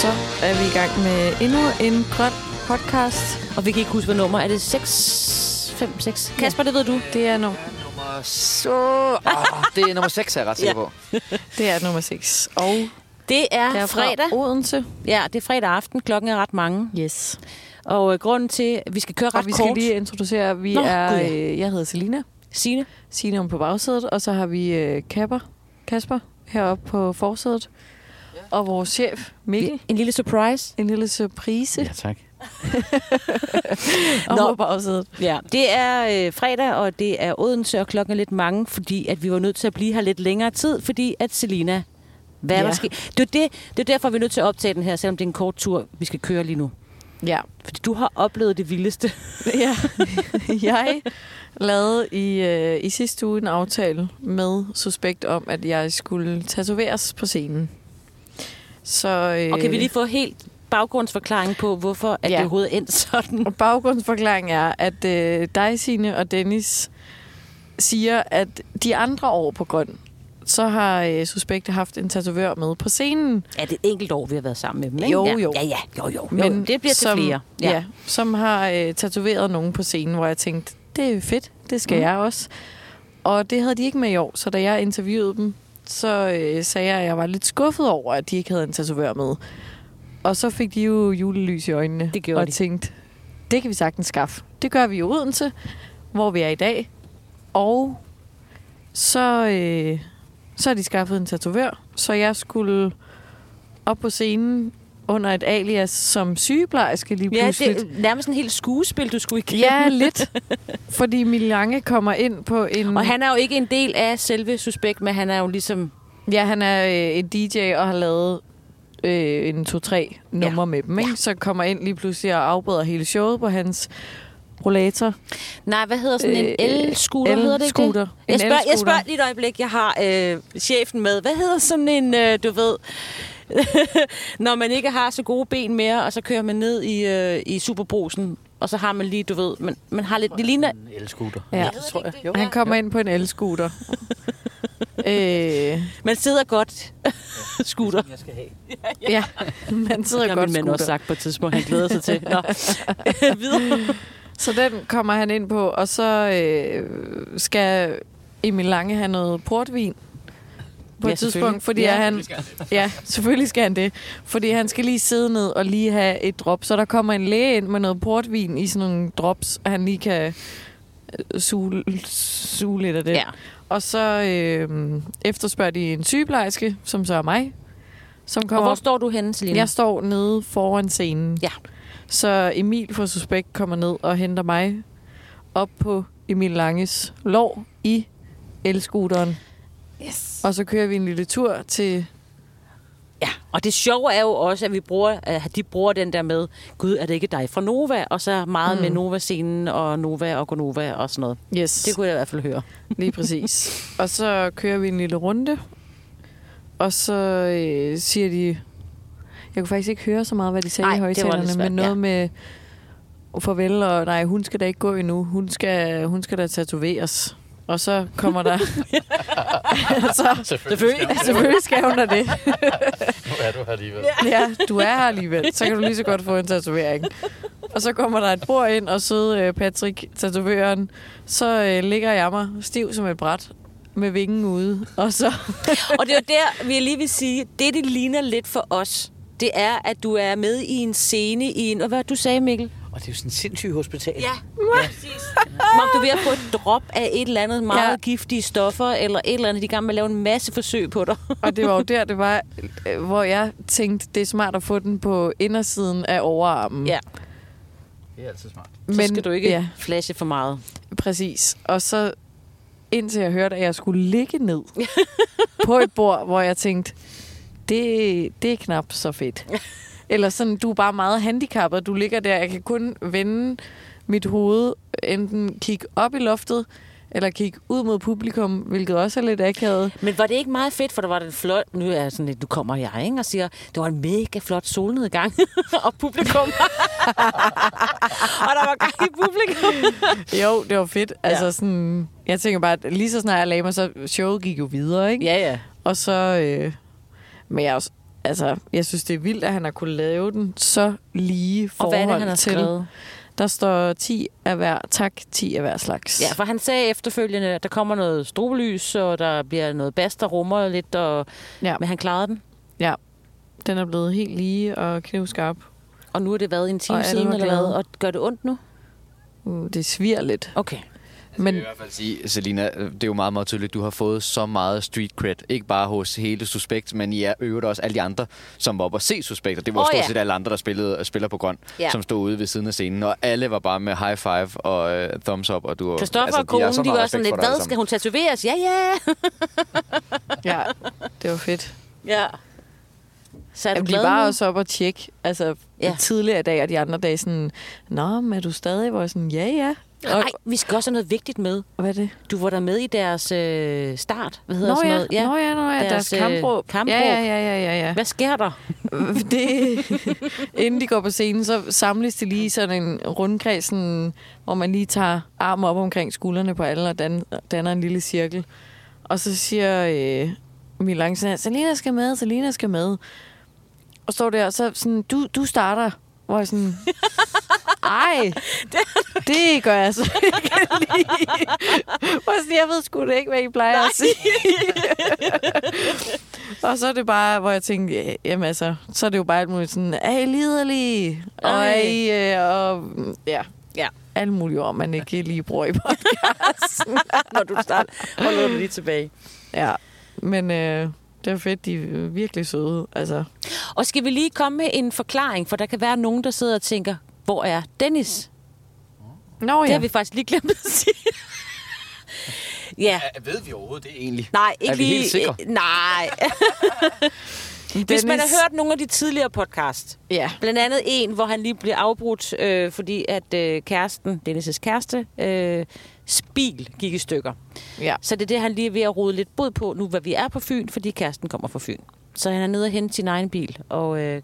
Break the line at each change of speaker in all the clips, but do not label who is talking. så er vi i gang med endnu en grøn podcast.
Og vi kan ikke huske, hvad nummer. Er det 6, 5, 6? Kasper, det ved du.
Det er, no,
Nummer så... Ah, det er nummer 6, er jeg ret sikker på.
det er nummer 6. Og
Det er,
det er fra
Ah, fredag.
Odense.
Oh. Ja, det er fredag aften. Klokken er ret mange.
Yes.
Og øh, grunden til, at vi skal køre ret
Og vi skal
kort.
lige introducere, at vi
Nå,
Nå, er...
gud, ja.
Øh, jeg hedder Selina.
Signe.
Signe om på bagsædet, og så har vi øh, Kapper, Kasper heroppe på forsædet. Og vores chef, Mikkel.
En lille surprise.
En lille surprise ja.
tak.
om
Nå.
på bagsædet.
Ja, det er øh, fredag, og det er Odense, og klokken er lidt mange, fordi at vi var nødt til at blive her lidt længere tid, fordi at Selina... Hvad ja.
Ja.
der ske? Det er, det, det er derfor, vi er nødt til at optage den her, selvom det er en kort tur, vi skal køre lige nu.
Ja.
Fordi du har oplevet det vildeste.
ja. jeg lavede i, øh, i sidste uge en aftale med Suspekt om, at jeg skulle tatoveres på scenen. Så, øh,
Og kan vi lige få helt baggrundsforklaring på, hvorfor at
Ja.
ja. det overhovedet endte sådan?
Og baggrundsforklaringen er, at øh, dig, Signe og Dennis siger, at de andre år på grøn, så har øh, Suspekte haft en tatovør med på scenen.
Ja, det er et enkelt år, vi har været sammen med dem, ikke?
Jo,
ja.
jo.
Ja, ja, jo, jo. Men jo det bliver
som,
til flere.
Ja. ja, som har øh, tatoveret nogen på scenen, hvor jeg tænkte, det er fedt, det skal mm.
Mm.
jeg også. Og det havde de ikke med i år, så da jeg interviewede dem, så øh, sagde jeg, at jeg var lidt skuffet over, at de ikke havde en tatovør med. Og så fik de jo julelys i øjnene.
Det gjorde
Og
de.
tænkte, det kan vi sagtens skaffe. Det gør vi i Odense, hvor vi er i dag. Og så, øh, så har de skaffet en tatovør, så jeg skulle op på scenen under et alias som sygeplejerske lige
Ja,
pludselig.
det er nærmest en helt skuespil, du skulle igennem.
ja lidt. Fordi Milange kommer ind på en...
Og han er jo ikke en del af selve suspekt, men han er jo ligesom...
Ja, han er øh, en DJ og har lavet øh, en to-tre numre ja. med dem. Ikke? Så kommer ind lige pludselig og afbryder hele showet på hans rollator.
Nej, hvad hedder sådan en
Øh,
el-scooter? hedder det ikke det?
el-scooter. En
Jeg spørger, jeg
el-scooter.
spørger lige et øjeblik. Jeg har øh, chefen med. Hvad hedder sådan en, øh, du ved... Når man ikke har så gode ben mere, og så kører man ned i, øh, i superbrusen, og så har man lige, du ved... Man, man har lidt... Det ligner...
En elskuter.
Ja.
det tror jeg. Jo.
Han kommer ind på en elskuter. øh,
Man sidder godt scooter.
Jeg skal have.
ja, man sidder
Det har
godt
min mand
skuter.
også sagt på et tidspunkt, han glæder sig til. Nå. Videre.
Så den kommer han ind på, og så øh, skal Emil Lange have noget portvin på
Ja,
ja, et
selvfølgelig.
tidspunkt, fordi
Ja,
ja, han, ja, selvfølgelig skal han det. Fordi han skal lige sidde ned og lige have et drop, så der kommer en læge ind med noget portvin i sådan nogle drops, og han lige kan øh, suge, suge lidt af det.
Ja.
Og så øh, efterspørger de en sygeplejerske, som så er mig, som
Og
kommer
hvor
op.
står du henne, Selina?
Jeg står nede foran scenen.
Ja.
Så Emil fra Suspekt kommer ned og henter mig op på Emil Langes lov i elscooteren.
Yes.
Og så kører vi en lille tur til...
Ja, og det sjove er jo også, at vi bruger, at de bruger den der med, gud, er det ikke dig fra Nova? Og så meget mm. med Nova-scenen og Nova og Gonova og sådan noget.
Yes,
Det kunne jeg i hvert fald høre.
lige præcis. og så kører vi en lille runde. Og så øh, siger de... Jeg kunne faktisk ikke høre så meget, hvad de sagde
Nej,
i
det var lidt
højtalerne, men
svært,
noget
ja.
med "Oh, farvel, og nej, hun skal da ikke gå endnu. Hun skal, hun skal da tatoveres. Og så kommer der... så,
Selvfølgelig.
selvfølgelig skal hun da det.
Nu er du her alligevel.
Ja, du er her alligevel. Så kan du lige så godt få en tatovering. Og så kommer der et bord ind, og søde øh, Patrick, tatovøren, så øh, ligger jeg mig stiv som et bræt med vingen ude. Og så...
og det er jo der, vi lige vil sige, det, det ligner lidt for os, det er, at du er med i en scene i en... Og hvad var det, du sagde, Mikkel?
Og det er jo sådan en sindssyg hospital.
præcis. Som om du er ved at få et drop af et eller andet meget
Ja.
ja. giftige stoffer, eller et eller andet, de er i gang med at lave en masse forsøg på dig.
Og det var jo der, det var, øh, hvor jeg tænkte, det er smart at få den på indersiden af overarmen.
ja,
Det er altid smart.
så skal du ikke
Ja,
ja. flashe for meget.
præcis. Og så indtil jeg hørte, at jeg skulle ligge ned på et bord, hvor jeg tænkte, det, det er knap så fedt. Eller sådan, du er bare meget handicappet, du ligger der, jeg kan kun vende mit hoved, enten kigge op i loftet, eller kigge ud mod publikum, hvilket også er lidt akavet.
Men var det ikke meget fedt, for der var den flot... Nu er jeg sådan lidt, nu kommer jeg, ikke? Og siger, det var en mega flot solnedgang. og publikum. og der var gang i publikum.
Jo, det var fedt. Altså
Ja.
sådan, jeg tænker bare, at lige så snart jeg lagde mig, så showet gik jo videre, ikke?
ja, ja.
Og så... Øh, men jeg er også altså, jeg synes, det er vildt, at han har kunne lave den så lige forhold
Og hvad er det, han har
til.
skrevet?
Der står 10 af hver, tak, 10 af hver slags.
Ja, for han sagde efterfølgende, at der kommer noget strobelys, og der bliver noget bas, der rummer lidt, og...
ja.
men han klarede den.
ja. Den er blevet helt lige og knivskarp.
Og nu har det været en time
Og alle
siden,
var
eller hvad?
glade.
Og gør det ondt nu?
Mm, Det sviger lidt.
Okay.
Men...
Men
Jeg vil i hvert fald sige, Selina, øh, det er jo meget, meget tydeligt, du har fået så meget street cred. Ikke bare hos hele Suspekt, men i er- øvrigt også alle de andre, som var oppe og se Suspekt. Og det var
Åh,
oh, stort
ja.
set alle andre, der spillede, spiller på grøn,
Ja.
ja. som stod ude ved siden af scenen. Og alle var bare med high five og øh, thumbs up. Og du,
Kristoffer altså,
har
og konen,
så
de
meget
gør
respekt
sådan
for
lidt,
dig alle
hvad
sammen."
skal hun tatoveres? Ja, ja.
ja, det var fedt.
ja. Så er du
Jamen, de
glad
var
nu?
også op og tjekke, altså
Ja.
ja. tidligere i dag og de andre dage, sådan, Nå, men er du stadig? Hvor jeg sådan, ja, ja. Og,
Nej, vi skal også have noget vigtigt med.
hvad er det?
Du var der med i deres øh, start. Hvad hedder
Nå
sådan
ja,
noget?
nå ja, nå ja, deres,
Deres, øh,
deres kampråb.
kampråb.
Ja, ja, ja, ja, ja. ja.
Hvad sker der?
det, inden de går på scenen, så samles de lige i sådan en rundkreds, sådan, hvor man lige tager armen op omkring skuldrene på alle og dan, danner en lille cirkel. Og så siger øh, Milan sådan her, Selina skal med, Selina skal med. Og står der, og så sådan, du, du starter. Hvor jeg sådan, ej, det gør jeg så ikke lige. Hvor jeg sådan, jeg ved sgu da ikke, hvad I plejer at sige. Og så er det bare, hvor jeg tænkte, ja, jamen altså, så er det jo bare alt muligt sådan, er I liderlige? Og
Ej.
er I, øh, og mm, ja,
Ja.
alle mulige ord, man ikke lige bruger i podcast.
Når du starter, holder du lige tilbage.
Ja, men øh, det var fedt, de er virkelig søde, altså.
Og skal vi lige komme med en forklaring, for der kan være nogen, der sidder og tænker, hvor er Dennis?
Nå
Det
ja,
har vi faktisk lige glemt at sige. ja,
Ja, Ved vi overhovedet det egentlig?
nej, ikke
er vi
lige.
helt sikre?
øh, Nej. Hvis man har hørt nogle af de tidligere podcast,
Ja,
blandt andet en, hvor han lige bliver afbrudt, øh, fordi at øh, kæresten, Dennis' kæreste, øh, bil gik i stykker.
ja.
Så det er det, han lige er ved at rode lidt bod på nu, hvad vi er på Fyn, fordi kæresten kommer fra Fyn. Så han er nede og hente sin egen bil, og øh,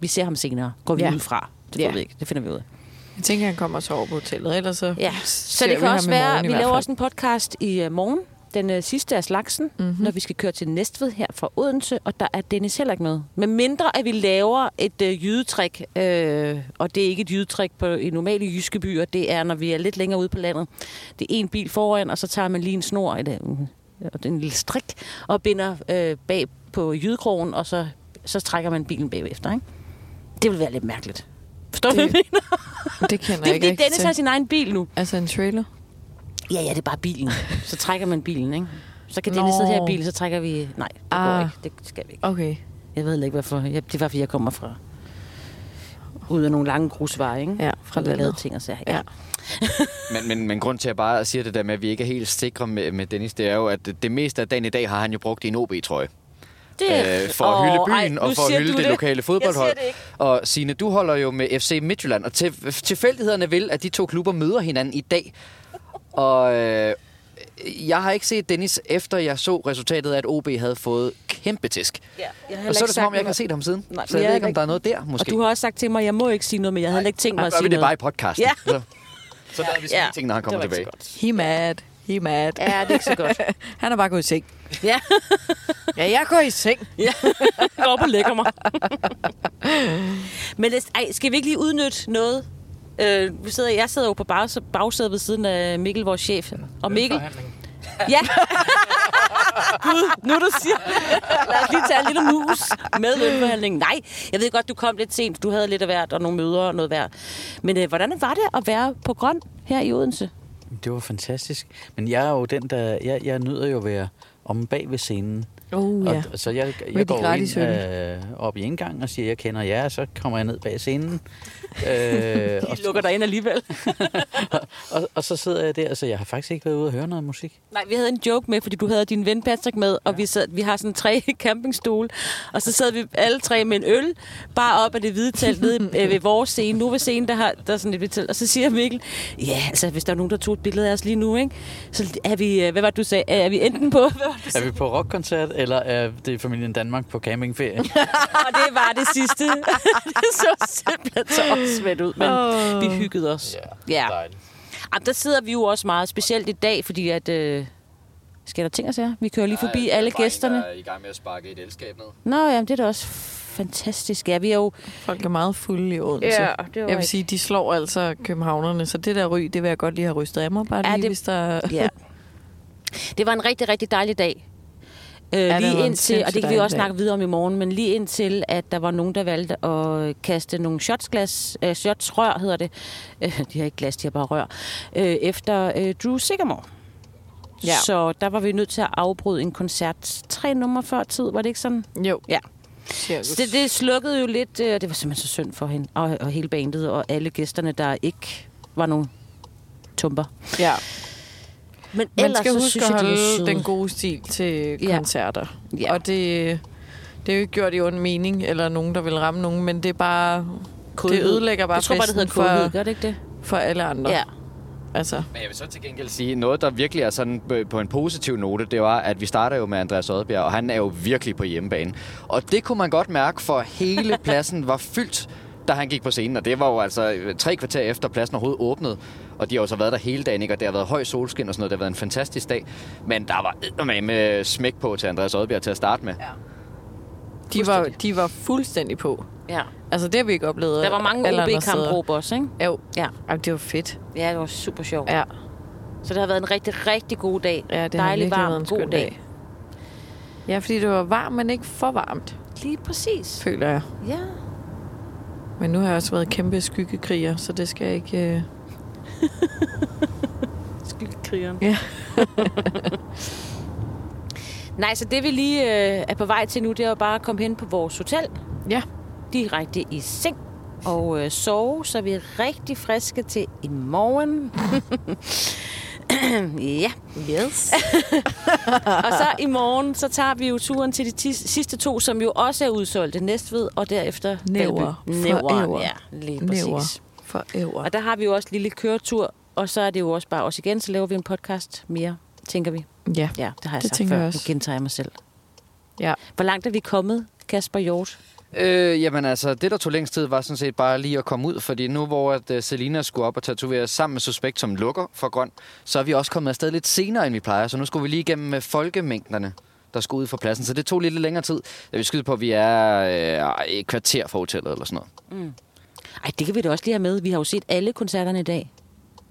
vi ser ham senere. Går vi ja.
Ja.
ud fra? Det,
Ja.
ja. vi ikke. det finder vi ud af.
Jeg tænker, han kommer og sover på hotellet, ellers så
Ja. Så
ser
det
vi
kan
ham i
også være,
morgen i
vi
hvert
laver
fald.
også en podcast i øh, morgen. Den øh, sidste af slagsen,
Mhm.
mm-hmm. når vi skal køre til Næstved her fra Odense, og der er Dennis heller ikke med. Med mindre, at vi laver et øh, jydetrik, øh, og det er ikke et jydetrik på i normale jyske byer, det er, når vi er lidt længere ude på landet. Det er en bil foran, og så tager man lige en snor, et, øh, og en lille strik, og binder øh, bag på jydekrogen, og så, så trækker man bilen bagefter. Ikke? Det vil være lidt mærkeligt. Forstår du, hvad jeg mener?
Det kender
Det
jeg
er
ikke
fordi, Dennis
rigtig
har
til.
sin egen bil nu.
Altså en trailer?
Ja, ja, det er bare bilen. Så trækker man bilen, ikke? Så kan
Nå.
Dennis sidde her i bilen, så trækker vi... Nej, det går
Ah.
ikke. Det skal vi ikke.
Okay.
Jeg ved heller ikke, hvorfor. Jeg, det er bare, fordi jeg kommer fra... Ud af nogle lange grusveje, ikke?
Ja, fra
Hvor der er lavet
landet.
ting og sager. Ja.
Ja.
Men, men, men grund til, at jeg bare siger det der med, at vi ikke er helt sikre med, med Dennis, det er jo, at det meste af dagen i dag har han jo brugt i en OB-trøje. øh, for at hylde
Åh, ej,
byen
nu
og for
siger
at hylde
du
det lokale fodboldhold.
Jeg siger det ikke.
Og Sine, du holder jo med FC Midtjylland, og til, tilfældighederne vil, at de to klubber møder hinanden i dag. Og øh, jeg har ikke set Dennis, efter jeg så resultatet af, at OB havde fået kæmpe tisk.
Ja, jeg har
Og
heller
så er
ikke
det som
sagt
om, jeg ikke har
noget.
set ham siden.
Nej,
Nej, så
jeg
jeg
har
ved ikke, om
ikke-
der er noget der, måske.
Og du har også sagt til mig, at jeg må ikke sige noget, men jeg havde heller ikke tænkt mig
Ej,
at
gør
sige
vi det bare i
noget.
podcasten.
Ja.
Så, så lader vi sådan
Ja.
ja. ting, når han kommer
Det var
tilbage.
ikke
He mad. He mad.
Ja, det er ikke så godt.
Han er bare gået i seng.
Ja,
Ja, jeg går i seng.
jeg går op og lægger mig. Men lad os- ej, skal vi ikke lige udnytte noget? Øh, vi sidder, jeg sidder jo på bags- bagsædet ved siden af Mikkel, vores chef. Og Mikkel... Ja. Gud, nu du siger det. Lad os lige tage en lille mus med lønforhandlingen. Nej, jeg ved godt, du kom lidt sent. Du havde lidt af hvert og nogle møder og noget værd. Men øh, hvordan var det at være på grøn her i Odense?
Det var fantastisk. Men jeg er jo den, der... Jeg, jeg nyder jo at være om bag ved scenen.
Oh, ja.
Og, så jeg,
de
jeg går jo
gratis
ind, øh, op i indgangen og siger, jeg kender jer, og så kommer jeg ned bag scenen. øh, og,
De lukker dig ind alligevel.
og, og, så sidder jeg der, så jeg har faktisk ikke været ude og høre noget musik.
Nej, vi havde en joke med, fordi du havde din ven Patrick med, og vi, sad, vi har sådan tre campingstole, og så sad vi alle tre med en øl, bare op af det hvide telt nede øh, ved vores scene, nu ved scenen, der, har, der er sådan et hvidt telt, og så siger Mikkel, ja, altså hvis der er nogen, der tog et billede af os lige nu, ikke? så er vi, øh, hvad var det, du sagde, er vi enten på, hvad var det, du
Er
sagde?
vi på rockkoncert, eller er det familien Danmark på campingferie?
og det var det sidste. det så simpelthen så åndssvagt ud, men oh. vi hyggede os. Ja. Jamen, der sidder vi jo også meget, specielt i dag, fordi at øh, Skal der ting og sager? Vi kører lige forbi
der
Ej,
er
alle
bare en,
gæsterne.
Der er i gang med at sparke et elskab ned.
Nå, jamen, det er da også fantastisk. Ja, vi er jo...
Folk er meget fulde i Odense.
det
Jeg vil sige, de slår altså københavnerne, så det der ryg, det vil jeg godt lige have rystet af mig, bare
Ja,
lige,
det-
hvis der...
Ja. Det var en rigtig, rigtig dejlig dag. Øh,
det var
lige
en
indtil, og det kan vi
sindssygt
jo også
dejlig dag.
snakke videre om i morgen, men lige indtil, at der var nogen, der valgte at kaste nogle shotsglas, øh, shotsrør hedder det, øh, de har ikke glas, de har bare rør, øh, efter øh, Drew Sigamore. Ja.
Ja.
Så der var vi nødt til at afbryde en koncert tre nummer før tid, var det ikke sådan?
Jo.
Ja.
Cirkus.
Så det, det slukkede jo lidt, øh, og det var simpelthen så synd for hende, og, og hele bandet, og alle gæsterne, der ikke var nogen tumper.
Ja.
Men
Man
ellers
skal
så
huske at
synes jeg, de var
holde
søde.
den gode stil til
Ja.
koncerter.
Ja.
Og det, det er jo ikke gjort i ond mening, eller nogen, der vil ramme nogen, men det er bare...
Kodhed.
Det ødelægger bare
Jeg tror bare, det hedder
festen
kodhed,
for,
gør det ikke det?
for alle andre.
Ja.
Altså,
Men jeg vil så til gengæld sige, noget, der virkelig er sådan øh, på en positiv note, det var, at vi starter jo med Andreas Oddbjerg, og han er jo virkelig på hjemmebane. Og det kunne man godt mærke, for hele pladsen var fyldt, da han gik på scenen, og det var jo altså øh, tre kvarter efter pladsen overhovedet åbnede. Og de har jo så været der hele dagen, ikke? og det har været høj solskin og sådan noget, det har været en fantastisk dag. Men der var med med smæk på til Andreas Oddbjerg til at starte med.
de, var, de var fuldstændig på.
ja.
Altså, det har vi ikke oplevet.
Der var mange
alle andre
OB-kampe
steder.
også, ikke?
Jo.
Ja.
Ej, det var fedt.
Ja, det var super sjovt.
Ja,
Så det har været en rigtig, rigtig god dag.
ja det har
Dejlig,
virkelig
varm,
været en
god
skøn
dag.
dag. Ja, fordi det var varmt, men ikke for varmt,
Lige præcis.
føler jeg.
Ja.
Men nu har jeg også været kæmpe skyggekriger, så det skal jeg ikke... Øh...
Skyldkrigeren.
Ja.
Nej, så det vi lige øh, er på vej til nu, det er jo bare at komme hen på vores hotel.
Ja.
Direkte i seng og øh, sove, så vi er rigtig friske til i morgen. ja.
Yes.
Og så i morgen, så tager vi jo turen til de ti- sidste to, som jo også er udsolgte. Næstved og derefter
Næver.
Valby. Næver,
Forever.
ja, lige præcis.
Næver.
Næver.
Forever.
Og der har vi jo også en lille køretur, og så er det jo også bare os igen, så laver vi en podcast mere, tænker vi.
Ja.
Ja, det har
Det
jeg sagt
tænker
før.
jeg også.
Nu gentager jeg mig selv.
ja.
Hvor langt er vi kommet, Kasper Hjort?
Øh, jamen altså, det der tog længst tid var sådan set bare lige at komme ud, fordi nu hvor at, uh, Selina skulle op og tatovere sammen med Suspekt, som lukker for grøn, så er vi også kommet afsted lidt senere, end vi plejer, så nu skulle vi lige igennem med folkemængderne, der skulle ud fra pladsen, så det tog lidt længere tid. Jeg vil skyde på, at vi er øh, et kvarter fra hotellet eller sådan noget.
Ej, det kan vi da også lige have med. Vi har jo set alle koncerterne i dag.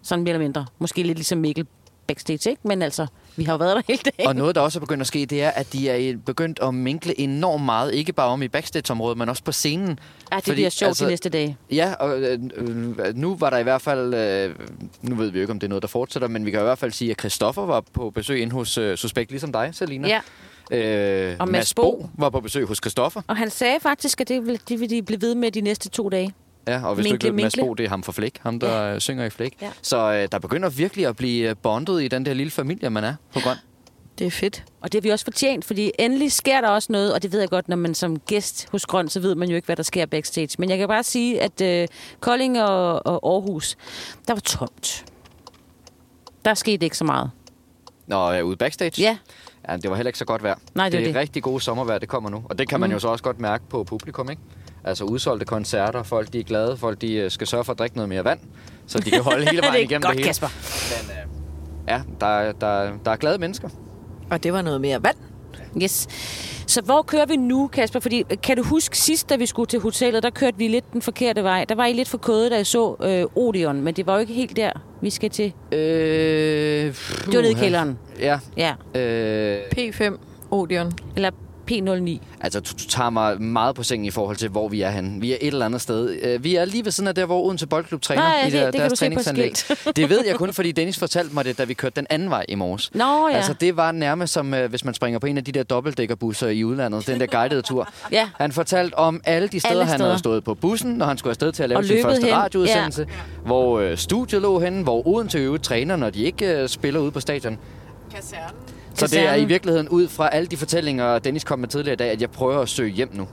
Sådan mere eller mindre. Måske lidt ligesom Mikkel backstage, ikke? Men altså, vi har jo været der hele dagen.
Og noget, der også er begyndt at ske, det er, at de er øh, begyndt at minkle enormt meget, ikke bare om i backstage-området, men også på scenen.
Ej, det fordi, bliver sjovt altså, de næste dage.
Ja, og øh, øh, nu var der i hvert fald, øh, nu ved vi jo ikke, om det er noget, der fortsætter, men vi kan i hvert fald sige, at Christoffer var på besøg inde hos øh, Suspekt, ligesom dig, Selina.
Ja.
Øh,
Og Mads Bo.
var på besøg hos Christoffer.
Og han sagde faktisk, at det vil, det vil de blive ved med de næste to dage.
Ja, og hvis du ikke
Minkle,
ved, Mads
minkle.
Bo, det er ham fra Flæk, ham der ja. synger i Flæk.
Ja.
Så øh, der begynder virkelig at blive øh, bondet i den der lille familie, man er på grøn.
Det er fedt.
Og det har vi også fortjent, fordi endelig sker der også noget, og det ved jeg godt, når man som gæst hos Grøn, så ved man jo ikke, hvad der sker backstage. Men jeg kan bare sige, at øh, Kolding og, og Aarhus, der var tomt. Der skete ikke så meget.
Nå, øh, ude backstage?
Ja,
ja. Det var heller ikke så godt vejr.
Nej, det er
det er
det.
rigtig gode sommervejr, det kommer nu. Og det kan man mm. jo så også godt mærke på publikum, ikke? Altså udsolgte koncerter, folk de er glade, folk de øh, skal sørge for at drikke noget mere vand, så de kan holde hele
det er
vejen
ikke
igennem
godt,
det hele. øh,
Kasper.
Ja, der, er- der, er- der er glade mennesker.
Og det var noget mere vand.
Yes. Så hvor kører vi nu, Kasper? Fordi øh, kan du huske sidst, da vi skulle til hotellet, der kørte vi lidt den forkerte vej. Der var I lidt for kode, da jeg så øh, Odeon, men det var jo ikke helt der, vi skal til.
Øh,
Det var nede i kælderen.
Ja.
Ja,
Øh,
P5 Odeon.
eller P09.
altså, du, du tager mig meget på sengen i forhold til, hvor vi er henne. Vi er et eller andet sted. Øh, vi er lige ved siden af der, hvor Odense Boldklub træner
Nej,
i
det-
der,
det kan
deres
du se på et
træningsanlæg. det ved jeg kun, fordi Dennis fortalte mig det, da vi kørte den anden vej i morges.
Nå ja.
Altså, det var nærmest som, øh, hvis man springer på en af de der dobbeltdækkerbusser i udlandet, den der guidede tur.
Ja.
Han fortalte om alle de steder,
Alle
alle han
steder.
havde stået på bussen, når han skulle afsted til at lave
Og
sin
løbet
første
hen.
radioudsendelse, ja. hvor øh, studiet lå henne, hvor Odense øvrigt træner, når de ikke øh, spiller ude på stadion. Så det er i
Kasernen.
virkeligheden ud fra alle de fortællinger, Dennis kom med tidligere i dag, at jeg prøver at søge hjem nu.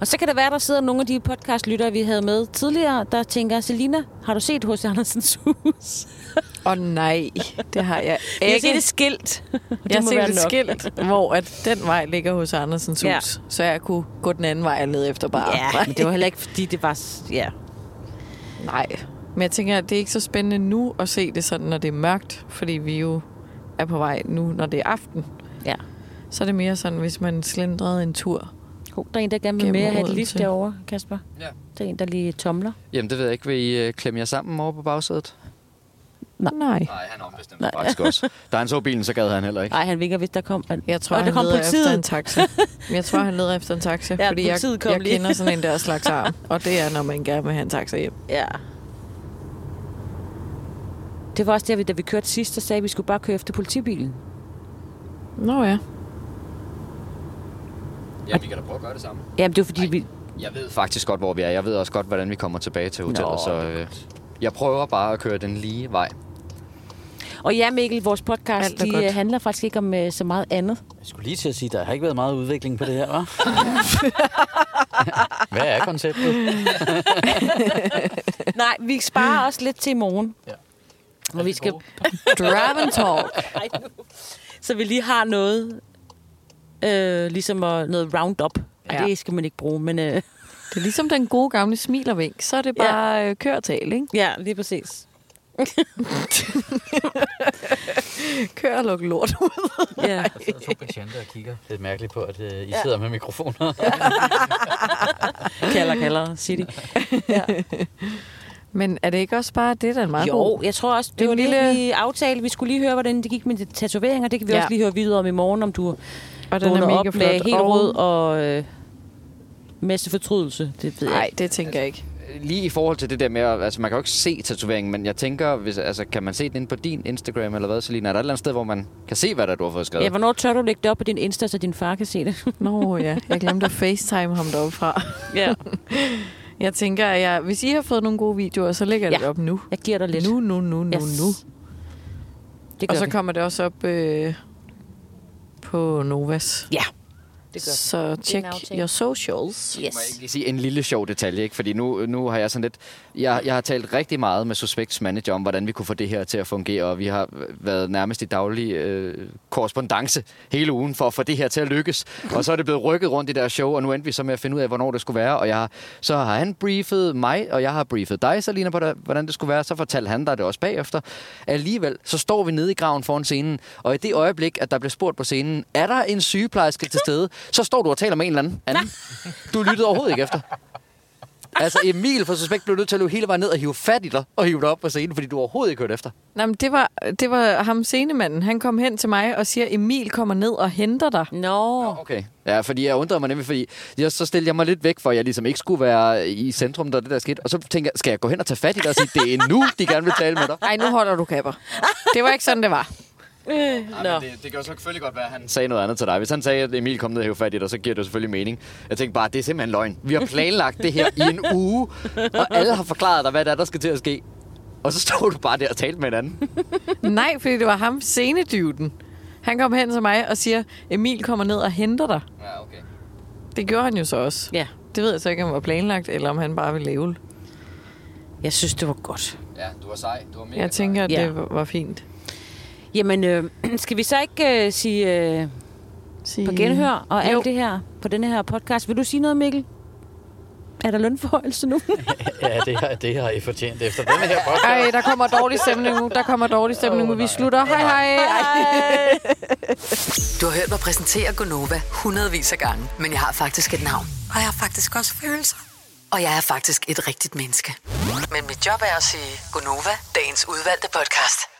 Og så kan der være, der sidder nogle af de podcastlyttere, vi havde med tidligere, der tænker, Selina, har du set H.C. Andersens hus?
Åh oh, nej, det har jeg
Jeg har set
ikke.
et skilt.
Jeg har
må
set
være
et
nok.
skilt, hvor at den vej ligger hos Andersens
Ja.
hus, så jeg kunne gå den anden vej ned efter bare.
Ja, men det var heller ikke, fordi det var... s- Ja.
Nej. Men jeg tænker, at det er ikke så spændende nu at se det sådan, når det er mørkt, fordi vi jo er på vej nu, når det er aften.
Ja.
Så er det mere sådan, hvis man slendrede en tur.
Oh, der er en, der gerne vil
Gennem
med at have et
Odense.
lift derovre, Kasper.
Ja.
Der er en, der lige tomler.
Jamen, det ved jeg ikke. Vil I øh, klemme jer sammen over på bagsædet?
Nej. Nej.
Nej, han ombestemte Nej. faktisk også. Da han så bilen, så gad han heller ikke.
Nej, han vinker, hvis der kom... Han...
Jeg tror,
Og der
han
kom
leder
politiet.
efter en taxa. Jeg tror, han leder efter en taxa,
Ja,
ja, fordi jeg,
politiet kom
jeg
lige.
kender sådan en der slags arm. Og det er, når man gerne vil have en taxa hjem.
Ja. Det var også der, vi, da vi kørte sidst, der sagde, at vi skulle bare køre efter politibilen.
Nå ja.
Ja, vi kan da prøve at gøre det samme.
Jamen, det var fordi,
Ej.
vi...
Jeg ved faktisk godt, hvor vi er. Jeg ved også godt, hvordan vi kommer tilbage til hotellet.
Nå,
Nå, så øh, jeg prøver bare at køre den lige vej.
Og ja, Mikkel, vores podcast,
Alt er
de
godt.
godt. handler faktisk ikke om øh, så meget andet.
Jeg skulle lige til at sige, der har ikke været meget udvikling på det her, hva'? Hvad er konceptet?
Nej, vi sparer også lidt til i morgen.
Ja.
Og vi skal...
Drive and talk.
Ej, nu. Så vi lige har noget, øh, ligesom at- noget roundup. Ja.
Ja.
Det skal man ikke bruge, men øh,
Det er ligesom den gode gamle smilervink. Så er det bare øh, ja. kørtal, ikke?
ja, lige præcis.
Kør og luk lort ud.
Ja.
Der sidder to patienter og kigger lidt mærkeligt på, at øh, I sidder med mikrofoner.
Kalder, kalder, city.
Men er det ikke også bare det, der er en meget
Jo,
god?
jeg tror også, det
Det
var
er en
lille... det,
lille-
vi aftalte. Vi skulle lige høre, hvordan det gik med de tatoveringer. Det kan vi ja.
Ja.
også lige høre videre om i morgen, om du
Og den
vågner
er mega
op med
flot.
helt
Og-
rød og øh, masse fortrydelse. Det ved jeg
Nej,
ikke.
det tænker jeg ikke.
Lige i forhold til det der med, at- altså man kan jo ikke se tatoveringen, men jeg tænker, hvis, altså, kan man se den inde på din Instagram eller hvad, Selina? Er der et eller andet sted, hvor man kan se, hvad der er, du har fået skrevet?
Ja, hvornår tør du lægge det op på din Insta, så din far kan se det?
Nå ja, jeg glemte at facetime ham deroppe fra.
ja.
Jeg tænker, at jeg, hvis I har fået nogle gode videoer, så lægger jeg
Ja.
det op nu.
Jeg giver dig lidt.
Nu, nu, nu, nu,
Yes.
nu.
Det gør
Og så
vi.
kommer det også op øh, på Novas.
Ja, det gør vi.
Så tjek
en aftale.
your socials.
Må jeg ikke
Yes.
lige sige en lille sjov detalje, ikke? Fordi nu, nu har jeg sådan lidt... Jeg, jeg har talt rigtig meget med Suspects manager om, hvordan vi kunne få det her til at fungere, og vi har været nærmest i daglig øh, korrespondence hele ugen for at få det her til at lykkes. Og så er det blevet rykket rundt i deres show, og nu endte vi så med at finde ud af, hvornår det skulle være. Og jeg har, så har han briefet mig, og jeg har briefet dig, Salina, på, hvordan det skulle være. Så fortalte han dig det også bagefter. Alligevel, så står vi nede i graven foran scenen, og i det øjeblik, at der bliver spurgt på scenen, er der en sygeplejerske til stede, så står du og taler med en eller anden. anden. Du lyttede overhovedet ikke efter. Altså Emil fra Suspekt blev nødt til at løbe hele vejen ned og hive fat i dig og hive dig op på scenen, fordi du overhovedet ikke hørte efter.
Nej, men det var, det var ham scenemanden. Han kom hen til mig og siger, Emil kommer ned og henter dig.
Nå.
Okay. Ja, fordi jeg undrede mig nemlig, fordi jeg, så stillede jeg mig lidt væk, for at jeg ligesom ikke skulle være i centrum, da det der skete. Og så tænkte jeg, skal jeg gå hen og tage fat i dig og sige, det er nu, de gerne vil tale med dig?
Nej, nu holder du kapper. Det var ikke sådan, det var.
Nå.
det, det kan jo selvfølgelig godt være, at han sagde noget andet til dig. Hvis han sagde, at Emil kom ned og hævde fat i dig, så giver det jo selvfølgelig mening. Jeg tænkte bare, det er simpelthen løgn. Vi har planlagt det her i en uge, og alle har forklaret dig, hvad der er, der skal til at ske. Og så står du bare der og talte med hinanden.
Nej, fordi det var ham scenedyvden. Han kom hen til mig og siger, Emil kommer ned og henter dig.
Ja, okay.
Det gjorde han jo så også.
Ja,
Det ved jeg så ikke, om det var planlagt, eller om han bare ville lave.
jeg synes, det var godt.
Ja, du var sej. Du var mega
Jeg tænker, at
Ja.
det var- var fint.
Jamen, øh, skal vi så ikke øh, sige... Øh,
Sige...
på genhør og alt det her på denne her podcast. Vil du sige noget, Mikkel? Er der lønforhøjelse nu?
ja, det har, det har I fortjent efter den her podcast.
Ej, der kommer dårlig stemning nu. Der kommer dårlig stemning nu. Vi slutter. Hej, hej.
Du har hørt mig præsentere Gonova hundredvis af gange, men jeg har faktisk et navn. Og jeg har faktisk også følelser. Og jeg er faktisk et rigtigt menneske. Men mit job er at sige Gonova, dagens udvalgte podcast.